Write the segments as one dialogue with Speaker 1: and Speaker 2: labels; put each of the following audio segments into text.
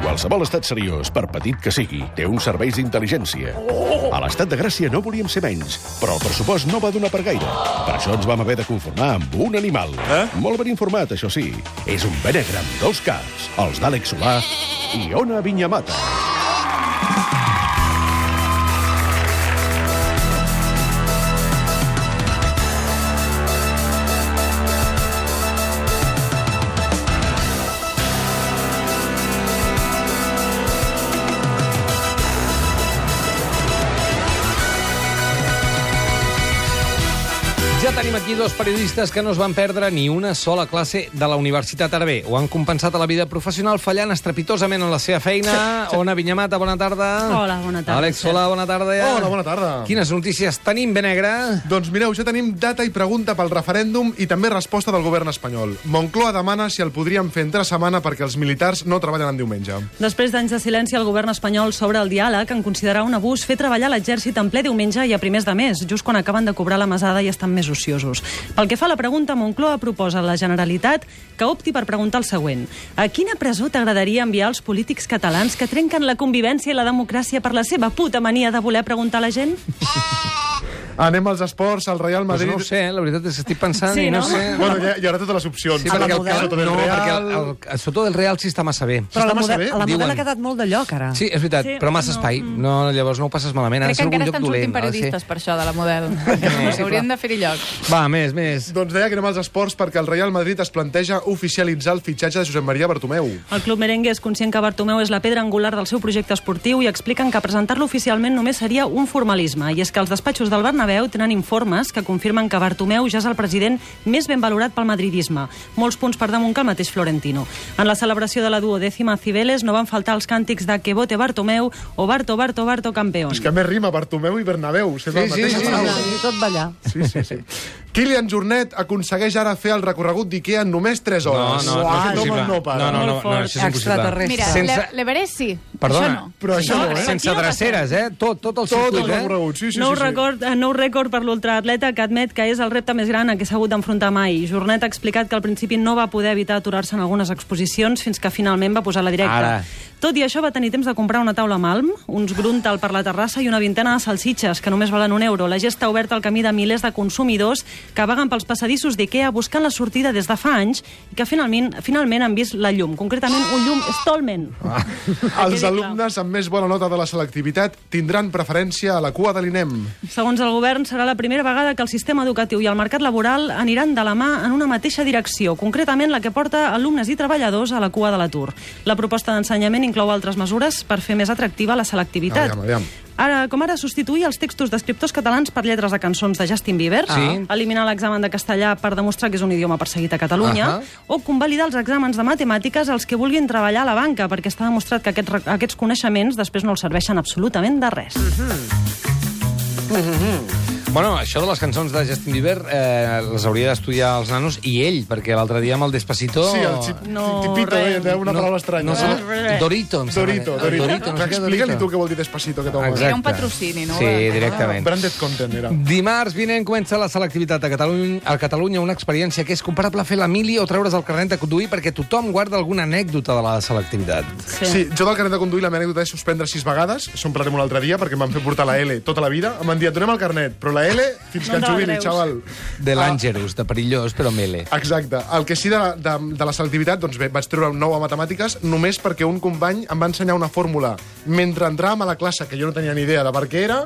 Speaker 1: Qualsevol estat seriós, per petit que sigui, té uns serveis d'intel·ligència. A l'estat de Gràcia no volíem ser menys, però el pressupost no va donar per gaire. Per això ens vam haver de conformar amb un animal.
Speaker 2: Eh?
Speaker 1: Molt ben informat, això sí. És un benegre amb dos caps, els d'Àlex Solà i Ona Vinyamata.
Speaker 3: Ja tenim aquí dos periodistes que no es van perdre ni una sola classe de la Universitat Ara bé, ho han compensat a la vida professional fallant estrepitosament en la seva feina. Ona Vinyamata, bona tarda.
Speaker 4: Hola, bona tarda,
Speaker 3: Àlex,
Speaker 4: Cel.
Speaker 3: hola, bona tarda.
Speaker 5: Hola, bona tarda.
Speaker 3: Quines notícies tenim, Benegre?
Speaker 5: Doncs mireu, ja tenim data i pregunta pel referèndum i també resposta del govern espanyol. Moncloa demana si el podríem fer entre setmana perquè els militars no treballen en diumenge.
Speaker 4: Després d'anys de silenci, el govern espanyol sobre el diàleg en considerar un abús fer treballar l'exèrcit en ple diumenge i a primers de mes, just quan acaben de cobrar la mesada i estan més ociosos. Pel que fa a la pregunta, Moncloa proposa a la Generalitat que opti per preguntar el següent. A quina presó t'agradaria enviar els polítics catalans que trenquen la convivència i la democràcia per la seva puta mania de voler preguntar a la gent?
Speaker 5: Anem als esports, al Real
Speaker 3: Pues no
Speaker 5: Madrid...
Speaker 3: ho sé, eh? la veritat és que estic pensant
Speaker 4: Sí,
Speaker 3: i no,
Speaker 4: no?
Speaker 3: sé...
Speaker 5: Bueno, hi, ha- hi haurà totes les opcions.
Speaker 3: Sí, perquè el,
Speaker 5: Soto
Speaker 3: cal...
Speaker 5: del
Speaker 3: no,
Speaker 5: Real...
Speaker 3: perquè el, el, el Soto del Real sí està massa bé.
Speaker 5: Està
Speaker 6: Però la,
Speaker 5: massa
Speaker 6: model,
Speaker 5: bé,
Speaker 6: la model
Speaker 3: diuen.
Speaker 6: ha quedat molt de lloc, ara.
Speaker 3: Sí, és veritat,
Speaker 4: Sí,
Speaker 3: però massa
Speaker 4: no,
Speaker 3: espai. No, llavors no ho passes malament. Ha de
Speaker 7: Crec que
Speaker 3: ser algun lloc
Speaker 7: encara estan
Speaker 3: dolent.
Speaker 7: sortint
Speaker 3: ha de ser-
Speaker 7: periodistes per això, de la model.
Speaker 3: Sí,
Speaker 7: Haurien de fer-hi lloc.
Speaker 3: Va, més, més.
Speaker 5: Doncs deia que anem als esports perquè el Real Madrid es planteja oficialitzar el fitxatge de Josep Maria Bartomeu.
Speaker 4: El club merengue és conscient que Bartomeu és la pedra angular del seu projecte esportiu i expliquen que presentar-lo oficialment només seria un formalisme. I és que els despatxos del Bernabéu tenen informes que confirmen que Bartomeu ja és el president més ben valorat pel madridisme. Molts punts per damunt que el mateix Florentino. En la celebració de la duodècima a Cibeles no van faltar els càntics de que vote Bartomeu o Barto, Barto, Barto, campeón.
Speaker 5: És que més rima Bartomeu i Bernabéu. Sembla
Speaker 3: Sí,
Speaker 5: el
Speaker 3: sí, sí,
Speaker 5: mateix.
Speaker 3: sí.
Speaker 6: I tot ballar.
Speaker 5: Sí, sí, sí. Kilian Jornet aconsegueix ara fer el recorregut d'IKEA en només 3
Speaker 3: No,
Speaker 5: hores.
Speaker 3: no, no és
Speaker 5: Aquest home
Speaker 3: possible.
Speaker 5: no para.
Speaker 3: no, no, no, no,
Speaker 4: Molt
Speaker 3: això és impossible.
Speaker 6: Extraterrestre.
Speaker 7: Mira,
Speaker 3: Sense-
Speaker 7: Sense... l'Everest sí.
Speaker 3: Perdona,
Speaker 7: Això no.
Speaker 5: Però això no, eh?
Speaker 3: Sense dreceres, eh? Tot, tot el
Speaker 5: Tot el
Speaker 3: circuit, eh?
Speaker 5: recorregut, sí, sí,
Speaker 4: nou,
Speaker 5: sí, sí.
Speaker 4: Record, eh, nou rècord per l'ultraatleta que admet que és el repte més gran a què s'ha hagut d'enfrontar mai. Jornet ha explicat que al principi no va poder evitar aturar-se en algunes exposicions fins que finalment va posar la directa.
Speaker 3: Ara.
Speaker 4: Tot i això va tenir temps de comprar una taula amb alm, uns gruntal per la terrassa i una vintena de salsitxes, que només valen un euro. La gesta ha obert el camí de milers de consumidors que vaguen pels passadissos d'IKEA buscant la sortida des de fa anys i que finalment, finalment han vist la llum, concretament un llum Stolmen. Ah.
Speaker 5: Els alumnes amb més bona nota de la selectivitat tindran preferència a la cua de l'INEM.
Speaker 4: Segons el govern, serà la primera vegada que el sistema educatiu i el mercat laboral aniran de la mà en una mateixa direcció, concretament la que porta alumnes i treballadors a la cua de l'atur. La proposta d'ensenyament inclou altres mesures per fer més atractiva la selectivitat.
Speaker 5: Aviam, aviam.
Speaker 4: Ara, com ara, substituir els textos d'escriptors catalans per lletres de cançons de Justin Bieber,
Speaker 3: Sí.
Speaker 4: eliminar l'examen de castellà per demostrar que és un idioma perseguit a Catalunya,
Speaker 3: Ahà.
Speaker 4: o convalidar els exàmens de matemàtiques als que vulguin treballar a la banca, perquè està demostrat que aquests, re- aquests coneixements després no els serveixen absolutament de res.
Speaker 3: Bueno, això de les cançons de Justin Bieber eh, les hauria d'estudiar els nanos i ell, perquè l'altre dia amb el Despacito...
Speaker 5: Sí, el xip,
Speaker 4: No,
Speaker 5: tipito,
Speaker 4: res.
Speaker 5: deia, una paraula
Speaker 3: No,
Speaker 5: estranya. Eh?
Speaker 3: sé,
Speaker 4: res.
Speaker 3: Dorito, em sembla.
Speaker 5: Dorito, Dorito.
Speaker 3: Dorito, no sé què,
Speaker 5: Explica-li tu
Speaker 3: Dorito.
Speaker 5: què vol dir Despacito, aquest home.
Speaker 3: Exacte.
Speaker 7: Era un patrocini, no?
Speaker 3: Sí,
Speaker 7: Ah.
Speaker 3: directament.
Speaker 5: Branded content, era.
Speaker 3: Dimarts vinent comença la selectivitat a Catalunya, a Catalunya, una experiència que és comparable a fer la mili o treure's el carnet de conduir perquè tothom guarda alguna anècdota de la selectivitat.
Speaker 5: Sí. jo del carnet de conduir la meva anècdota és suspendre sis vegades, això en parlarem un altre dia, perquè em van fer portar la L tota la vida. Em van dir, et donem el carnet, però la L fins
Speaker 4: No
Speaker 5: que
Speaker 4: te
Speaker 5: et
Speaker 4: la
Speaker 5: jubili,
Speaker 4: creus.
Speaker 5: xaval.
Speaker 3: De l'Àngerus, de perillós, però mele.
Speaker 5: Ah. Exacte. El que sí de, la- de, de la selectivitat, doncs bé, vaig treure un nou a matemàtiques només perquè un company em va ensenyar una fórmula. Mentre entràvem a la classe, que jo no tenia ni idea de per què era,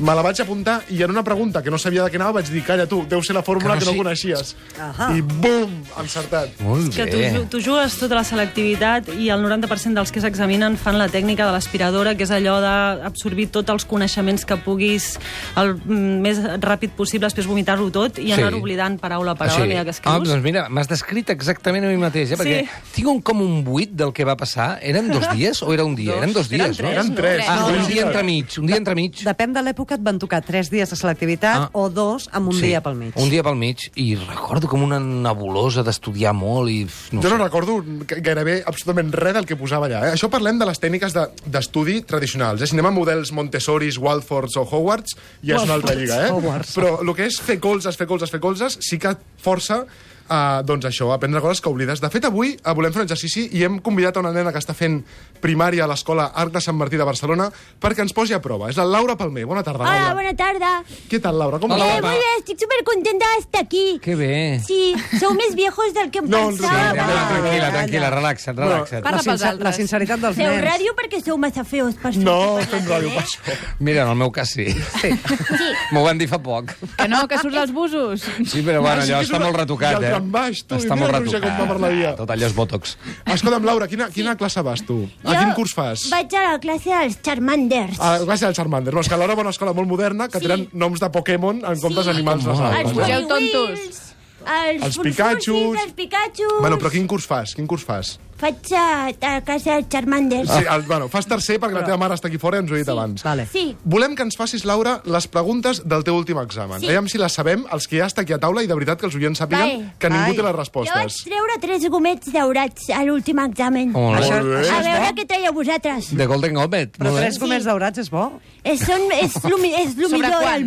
Speaker 5: me la vaig apuntar i en una pregunta que no sabia de què anava vaig dir, calla tu, deu ser la fórmula
Speaker 3: Que
Speaker 5: que
Speaker 3: no
Speaker 5: no,
Speaker 3: sé-
Speaker 5: coneixies.
Speaker 6: Ahà.
Speaker 5: I bum, encertat.
Speaker 3: Molt
Speaker 4: que tu,
Speaker 3: Doncs bé.
Speaker 4: ju- tu jugues tota la selectivitat i el 90% dels que s'examinen fan la tècnica de l'aspiradora, que és allò d'absorbir tots els coneixements que puguis el mm, més ràpid possible, després vomitar-ho tot i
Speaker 3: Sí.
Speaker 4: anar oblidant paraula a paraula sí. que
Speaker 3: Ah,
Speaker 4: escrius.
Speaker 3: doncs mira, m'has descrit exactament a mi mateix, eh? perquè
Speaker 4: Sí.
Speaker 3: tinc un, com un buit del que va passar. Eren dos dies o era un dia? Eren dos dies, no?
Speaker 4: Eren tres,
Speaker 5: Eren tres.
Speaker 3: Ah,
Speaker 5: no?
Speaker 3: un dia entremig, un dia entremig.
Speaker 6: Depèn de l'època, et van tocar 3 dies de selectivitat
Speaker 3: Ah.
Speaker 6: o dos amb un
Speaker 3: Sí,
Speaker 6: dia pel mig.
Speaker 3: Un dia pel mig, i recordo com una nebulosa d'estudiar molt i... f- No
Speaker 5: Jo no
Speaker 3: sé.
Speaker 5: recordo ga- gairebé absolutament res del que posava allà. Eh? Això parlem de les tècniques de- d'estudi de, tradicionals. Eh? Si anem a models Montessoris, Walfords o Howards, ja és una altra lliga. Eh?
Speaker 6: Howards.
Speaker 5: Però el que és fer colzes, fer colzes, fer colzes, sí que et força Uh, doncs això, aprendre coses que oblides. De fet, avui uh, volem fer un exercici i hem convidat a una nena que està fent primària a l'escola Arc de Sant Martí de Barcelona perquè ens posi a prova. És la Laura Palmer. Bona tarda,
Speaker 2: Hola,
Speaker 5: Laura.
Speaker 2: bona tarda.
Speaker 5: Què tal, Laura? Com
Speaker 3: Hola,
Speaker 5: estàs?
Speaker 2: Eh, muy bien, estoy súper contenta de estar aquí.
Speaker 3: Que bé.
Speaker 2: Sí, sou més viejos del que em
Speaker 5: No,
Speaker 3: Sí, ja,
Speaker 5: Ah,
Speaker 2: pensava.
Speaker 5: va.
Speaker 3: tranquil·la, tranquil·la, relaxa't, relaxa't.
Speaker 7: Parla
Speaker 6: la,
Speaker 7: pels altres.
Speaker 6: la sinceritat dels
Speaker 2: Feu
Speaker 6: nens.
Speaker 2: ràdio perquè sou massa feos per sortir
Speaker 5: No,
Speaker 2: per la
Speaker 5: fem
Speaker 2: tele.
Speaker 5: ràdio, per això.
Speaker 3: Mira, en el meu cas sí.
Speaker 6: Sí.
Speaker 2: Sí,
Speaker 3: M'ho van dir fa poc.
Speaker 7: Que no, que surts dels busos.
Speaker 3: Sí, però bueno,
Speaker 5: Vaja,
Speaker 3: allò
Speaker 5: que és
Speaker 3: està
Speaker 5: una-
Speaker 3: molt
Speaker 5: i
Speaker 3: retocat,
Speaker 5: el
Speaker 3: eh?
Speaker 5: trambaix, tu, i
Speaker 3: Està molt
Speaker 5: mira, Roger,
Speaker 3: retocat.
Speaker 5: com va per la via.
Speaker 3: Tot allò és botox.
Speaker 5: Escolta'm, Laura, quina, quina classe vas tu? A quin curs fas? Ah,
Speaker 2: vaig a la classe dels Charmanders.
Speaker 5: A la classe del Charmander. No, és que l'hora era una escola molt moderna que
Speaker 2: Sí.
Speaker 5: tenen noms de Pokémon en comptes d'animals de
Speaker 3: Ah,
Speaker 2: els
Speaker 5: sal.
Speaker 7: Mugeu
Speaker 2: Wii
Speaker 7: tontos.
Speaker 2: Wheels, els,
Speaker 5: Els
Speaker 2: Furfursis,
Speaker 5: Pikachus.
Speaker 2: Els Pikachus.
Speaker 5: Bueno, però quin curs fas? Quin curs fas?
Speaker 2: Faig a, a la classe dels
Speaker 3: Ah.
Speaker 2: Charmanders.
Speaker 5: Sí, el, bueno, fas tercer perquè la teva mare està aquí fora i ens ho he dit abans.
Speaker 6: Vale.
Speaker 2: Sí,
Speaker 5: Volem que ens facis, Laura, les preguntes del teu últim examen.
Speaker 2: Sí.
Speaker 5: Veiem si les sabem, els que ja està aquí a taula, i de veritat que els oients sàpiguen
Speaker 2: Vale.
Speaker 5: que ningú
Speaker 6: Ai.
Speaker 5: té les
Speaker 2: jo vaig
Speaker 5: respostes.
Speaker 2: treure tres gomets daurats a l'últim examen.
Speaker 3: Molt
Speaker 6: Això,
Speaker 3: bé.
Speaker 5: bé.
Speaker 6: això
Speaker 2: A
Speaker 6: és
Speaker 2: veure
Speaker 6: bo.
Speaker 2: què traieu vosaltres.
Speaker 3: De Golden Gobet.
Speaker 6: Però
Speaker 3: molt bé.
Speaker 6: tres gomets daurats és bo.
Speaker 2: És, Eh, són, és, lo, mi- és lo
Speaker 7: Sobre
Speaker 2: millor
Speaker 7: quants?
Speaker 2: del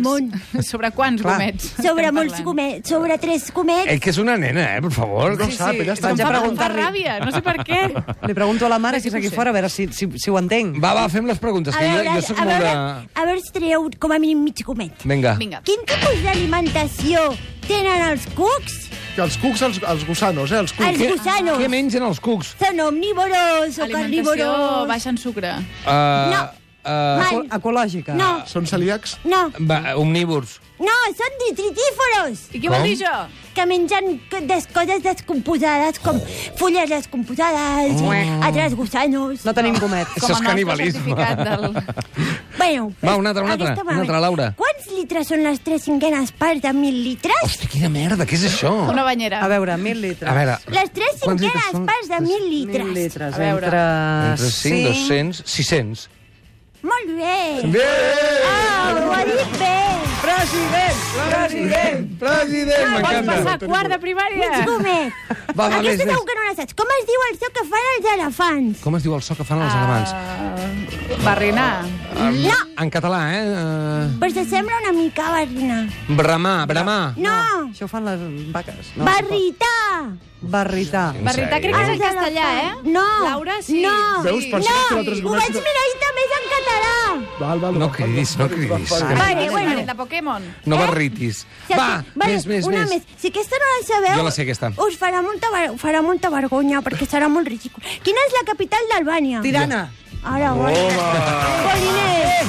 Speaker 2: món.
Speaker 7: Sobre quants
Speaker 6: Clar.
Speaker 7: gomets?
Speaker 2: Sobre
Speaker 7: estem
Speaker 2: molts
Speaker 7: parlant?
Speaker 2: gomets, sobre tres gomets.
Speaker 3: Eh, que és una nena, eh, per favor.
Speaker 5: No sap, ella està...
Speaker 6: Vaig a
Speaker 7: Em fa- Em
Speaker 6: preguntar-li.
Speaker 7: fa ràbia, no sé per què.
Speaker 6: Li pregunto a la mare si és aquí fora, a veure si, si, si ho entenc.
Speaker 3: Va, va, fem les preguntes,
Speaker 2: A
Speaker 3: que jo, jo
Speaker 2: veure,
Speaker 3: sóc
Speaker 2: a
Speaker 3: molt
Speaker 2: veure,
Speaker 3: de...
Speaker 2: a veure si traieu com a mínim mig gomet.
Speaker 3: Vinga.
Speaker 7: Vinga.
Speaker 2: Quin tipus d'alimentació tenen els cucs?
Speaker 5: Que els cucs, els, els gusanos, eh? Els cucs.
Speaker 2: Els
Speaker 3: Què-
Speaker 2: gusanos.
Speaker 3: Què mengen els cucs?
Speaker 2: Són omnívoros o
Speaker 7: Alimentació
Speaker 2: carnívoros?
Speaker 7: baixa en sucre.
Speaker 3: Uh,
Speaker 2: No.
Speaker 3: Uh,
Speaker 2: Mal.
Speaker 6: Ecològica.
Speaker 2: No,
Speaker 5: Són celíacs?
Speaker 2: no,
Speaker 3: va, omnívors.
Speaker 2: no, són detritíforos,
Speaker 7: I què vol
Speaker 3: Com?
Speaker 7: dir jo?
Speaker 2: que mengen co- des coses descomposades, com fulles descomposades, altres gusanos...
Speaker 6: No tenim gomet.
Speaker 3: Això és
Speaker 7: el nostre
Speaker 3: canibalisme.
Speaker 7: certificat Del...
Speaker 2: Bueno,
Speaker 3: Va, una altra, una altra,
Speaker 2: aquesta
Speaker 3: una
Speaker 2: va bé.
Speaker 3: altra, Laura.
Speaker 2: Quants litres són les tres cinquenes parts de mil litres?
Speaker 3: Hosti, quina merda, què és això?
Speaker 7: Una banyera.
Speaker 6: A veure, mil litres.
Speaker 3: A veure...
Speaker 2: Les tres
Speaker 3: quants litres
Speaker 2: cinquenes
Speaker 3: són?
Speaker 2: parts de mil litres.
Speaker 6: Mil litres.
Speaker 7: A veure.
Speaker 6: Entre...
Speaker 3: Entre 5,
Speaker 6: cinc-
Speaker 3: 200, 600.
Speaker 2: Molt bé.
Speaker 5: Bé!
Speaker 2: Ah, ho ha dit bé.
Speaker 6: President! President!
Speaker 3: President,
Speaker 7: Pots passar
Speaker 3: m'encanta.
Speaker 7: a quart de primària.
Speaker 2: Mig gomet.
Speaker 3: Va, va, més,
Speaker 2: Aquesta
Speaker 3: més.
Speaker 2: segur que no la saps. Com es diu el so que fan els elefants?
Speaker 3: Com es diu el so que fan
Speaker 2: Ah.
Speaker 3: els alemans?
Speaker 7: Uh, barrinar.
Speaker 3: Ah,
Speaker 2: No,
Speaker 3: En català, eh?
Speaker 2: però s'assembla una mica a barrinar.
Speaker 3: Uh, bramar, bramar.
Speaker 2: No,
Speaker 6: Això ho fan les vaques. No?
Speaker 2: barritar.
Speaker 6: Barritar.
Speaker 7: Barritar crec que és en
Speaker 2: Els
Speaker 7: castellà, eh?
Speaker 2: elefants. No.
Speaker 7: Laura, sí.
Speaker 2: No.
Speaker 5: Veus? Per això
Speaker 2: No,
Speaker 5: has tirat tres
Speaker 2: ho
Speaker 5: gomets.
Speaker 2: vaig mirar i també és en català.
Speaker 5: Val, val,
Speaker 3: No
Speaker 5: val,
Speaker 3: cridis, no
Speaker 5: val,
Speaker 3: cridis.
Speaker 5: val, val.
Speaker 3: que
Speaker 2: Vale, bueno.
Speaker 7: La Pokémon.
Speaker 3: No barritis.
Speaker 2: Si
Speaker 3: Va,
Speaker 2: aquí- eh? vale,
Speaker 3: més, més,
Speaker 2: una
Speaker 3: més.
Speaker 2: més. Si aquesta no la sabeu...
Speaker 3: Jo la sé, aquesta.
Speaker 2: Us farà molta, ver- us farà molta vergonya, perquè serà molt ridícul. Quina és la capital d'Albània?
Speaker 6: Tirana.
Speaker 2: Ara, bueno. Polines.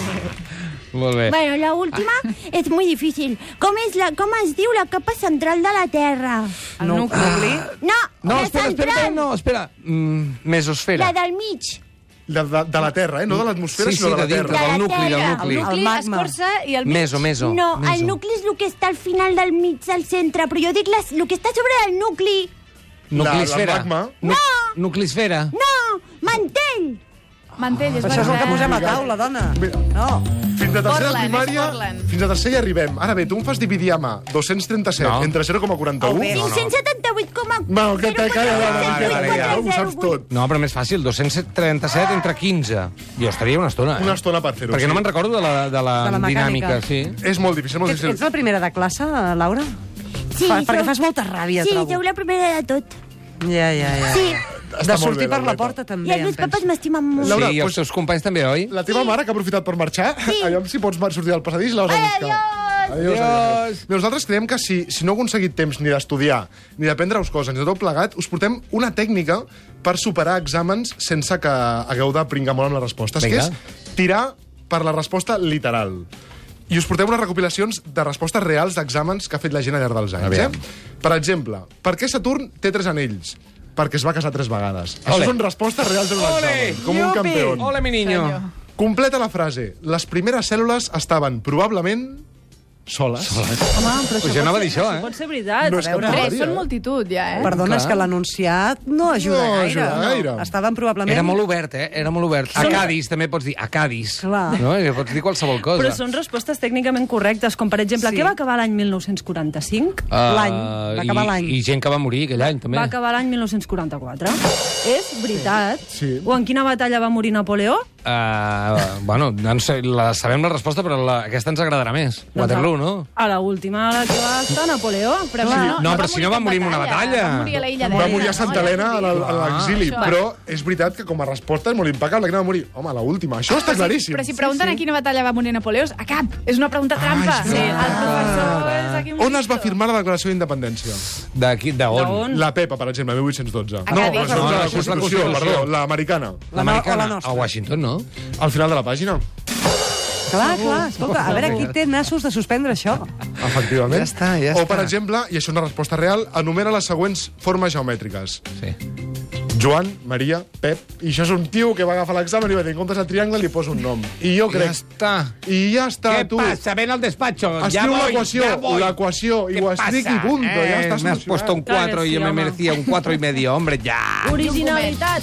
Speaker 3: Molt bé.
Speaker 2: Bueno, la última és molt difícil. Com, és la, com es diu la capa central de la Terra?
Speaker 7: El no. nucli.
Speaker 6: Ah.
Speaker 2: No,
Speaker 3: No,
Speaker 2: la
Speaker 3: espera, espera, espera,
Speaker 2: central,
Speaker 3: no, espera. Mm, mesosfera.
Speaker 2: la del mig.
Speaker 5: De, de, de la Terra, eh? No de l'atmosfera,
Speaker 3: Sí, sí,
Speaker 5: sinó de
Speaker 3: de
Speaker 5: la
Speaker 3: dintre,
Speaker 5: Terra.
Speaker 2: De
Speaker 3: del
Speaker 2: la
Speaker 3: nucli, del
Speaker 2: terra.
Speaker 3: nucli.
Speaker 7: El nucli,
Speaker 6: El magma.
Speaker 7: escorça i el mig.
Speaker 3: Meso, meso.
Speaker 2: No, el
Speaker 3: meso.
Speaker 2: nucli és el que està al final del mig, del centre, però jo dic les, el que està sobre el nucli.
Speaker 5: La-
Speaker 3: Nuclisfera.
Speaker 5: la magma.
Speaker 3: Nu nuclisfera.
Speaker 2: No, mantell!
Speaker 7: Mantell, és
Speaker 6: Però això és el que
Speaker 7: veritat.
Speaker 6: posem a taula, dona. No.
Speaker 5: Fins a tercera
Speaker 7: Portland, és
Speaker 5: primària...
Speaker 7: Portland.
Speaker 5: Fins a tercera hi arribem. Ara bé, tu em fas dividir a mà 237
Speaker 3: No.
Speaker 5: entre 0,41.
Speaker 6: Oh, bé. No, no.
Speaker 2: 578,4...
Speaker 5: Mau, que te calla, va, va,
Speaker 3: va, va,
Speaker 5: va,
Speaker 3: va,
Speaker 5: va, ho saps tot.
Speaker 3: No, però més fàcil, 237 entre 15. Jo estaria una estona, eh?
Speaker 5: Una estona per fer-ho.
Speaker 3: Perquè no
Speaker 5: sí.
Speaker 3: me'n recordo de la, de la,
Speaker 6: De la
Speaker 3: dinàmica,
Speaker 6: mecànica.
Speaker 3: sí.
Speaker 5: És molt difícil, molt
Speaker 6: Ets,
Speaker 5: difícil.
Speaker 6: ets la primera de classe, Laura?
Speaker 2: Sí,
Speaker 6: Fa, perquè
Speaker 2: sou-
Speaker 6: fas molta ràbia,
Speaker 2: Sí,
Speaker 6: trobo.
Speaker 2: sou la primera de tot.
Speaker 6: Ja, ja, ja.
Speaker 2: Sí,
Speaker 5: Està
Speaker 6: De
Speaker 5: molt
Speaker 6: sortir
Speaker 5: bé,
Speaker 6: per la
Speaker 5: Laureta.
Speaker 6: porta,
Speaker 2: i
Speaker 6: també,
Speaker 2: els
Speaker 6: em
Speaker 2: meus papes
Speaker 6: penso.
Speaker 2: m'estimen molt.
Speaker 5: Laura,
Speaker 3: sí, i els
Speaker 5: doncs-
Speaker 3: teus companys també, oi?
Speaker 5: La teva mare, que ha aprofitat per marxar, sí. aviam si pots sortir del passadís i la vas a
Speaker 2: Ai,
Speaker 5: buscar.
Speaker 2: adiós!
Speaker 5: Adiós,
Speaker 3: Adiós.
Speaker 5: Bé, Nosaltres creiem que si, si no heu aconseguit temps ni d'estudiar, ni d'aprendre-us coses, ni de tot plegat, us portem una tècnica per superar exàmens sense que hagueu de pringar molt amb les respostes,
Speaker 3: Vinga.
Speaker 5: que és tirar per la resposta literal. I us portem unes recopilacions de respostes reals d'exàmens que ha fet la gent al llarg dels anys.
Speaker 3: Aviam.
Speaker 5: Eh? Per exemple, per què Saturn té tres anells? Perquè es va casar tres vegades.
Speaker 3: Ole.
Speaker 5: Això són respostes reals d'un examen, com un campió.
Speaker 3: Hola, mi niño.
Speaker 7: Senyor.
Speaker 5: Completa la frase. Les primeres cèl·lules estaven probablement soles. soles.
Speaker 6: Home, però
Speaker 3: Pues jo anava a dir això,
Speaker 6: això
Speaker 3: eh?
Speaker 6: pot ser veritat.
Speaker 5: No
Speaker 6: No
Speaker 5: és
Speaker 6: a
Speaker 5: cap
Speaker 6: veure.
Speaker 5: problema.
Speaker 7: Tres, són multitud, ja, eh?
Speaker 6: Perdona, és
Speaker 3: Clar.
Speaker 6: que l'anunciat no ajuda
Speaker 5: No
Speaker 6: gaire.
Speaker 5: ajuda gaire.
Speaker 6: Estaven probablement...
Speaker 3: Era molt obert, eh? Era molt obert. A Cádiz, també pots dir. A Cádiz.
Speaker 6: Clar.
Speaker 3: No? I pots dir qualsevol cosa.
Speaker 4: Però són respostes tècnicament correctes, com per exemple,
Speaker 6: Sí.
Speaker 4: sí. què va acabar l'any 1945?
Speaker 3: Ah,
Speaker 6: l'any. Va acabar
Speaker 3: i-
Speaker 6: l'any.
Speaker 3: I gent que va morir aquell any, també.
Speaker 4: Va acabar l'any 1944. És veritat.
Speaker 5: Sí.
Speaker 4: O en quina batalla va morir Napoleó?
Speaker 3: Uh, bueno, no sé, la, sabem la resposta, però la, aquesta ens agradarà més. Waterloo, no?
Speaker 4: Doncs A la última a la que va estar Napoleó.
Speaker 7: Però, clar,
Speaker 3: No, però si no va morir en una batalla.
Speaker 7: Va morir a l'illa
Speaker 5: Va morir a Santa Helena a
Speaker 7: Ja
Speaker 5: la-
Speaker 7: t'ho dic.
Speaker 5: a l'exili,
Speaker 7: Clar.
Speaker 5: però és veritat que com a resposta és molt impecable que no va morir. Home, la última, això està claríssim.
Speaker 7: Ah, Però si pregunten a quina batalla va morir Napoleó, és a cap. És una pregunta trampa. sí, el professor eh, és aquí
Speaker 5: On es va firmar la declaració d'independència?
Speaker 3: D'aquí, d'on?
Speaker 4: D'on?
Speaker 5: La PEPA, per exemple, 1812.
Speaker 7: A
Speaker 5: No,
Speaker 7: Cádiz.
Speaker 5: però
Speaker 7: No,
Speaker 5: segons la
Speaker 3: això és la
Speaker 5: Constitució,
Speaker 3: Constitució.
Speaker 5: perdó, l'americana.
Speaker 3: L'americana.
Speaker 6: o la nostra.
Speaker 3: A Washington, no?
Speaker 5: Al final de la pàgina.
Speaker 6: Clar, clar, escolta, a veure qui té nassos de suspendre això.
Speaker 5: Efectivament.
Speaker 3: Ja està, ja
Speaker 5: O, per
Speaker 3: està.
Speaker 5: exemple, i això és una resposta real, enumera les següents formes geomètriques.
Speaker 3: Sí.
Speaker 5: Joan, Maria, Pep, i això és un tio que va agafar l'examen i va dir, en comptes de triangle li poso un nom. I jo
Speaker 3: Ja
Speaker 5: crec...
Speaker 3: està.
Speaker 5: I ja està,
Speaker 3: Què
Speaker 5: tu.
Speaker 3: passa? Ven al despacho.
Speaker 5: Escriu
Speaker 3: ja voy,
Speaker 5: l'equació,
Speaker 3: ja voy.
Speaker 5: l'equació, i
Speaker 3: ¿Qué
Speaker 5: ho estic i punto.
Speaker 3: Eh,
Speaker 5: ja està
Speaker 3: me has
Speaker 5: solucionat.
Speaker 3: puesto un
Speaker 4: Claro,
Speaker 3: 4 y
Speaker 4: sí,
Speaker 3: yo me
Speaker 4: home.
Speaker 3: merecía un 4 y medio. Hombre, ya.
Speaker 4: Originalitat.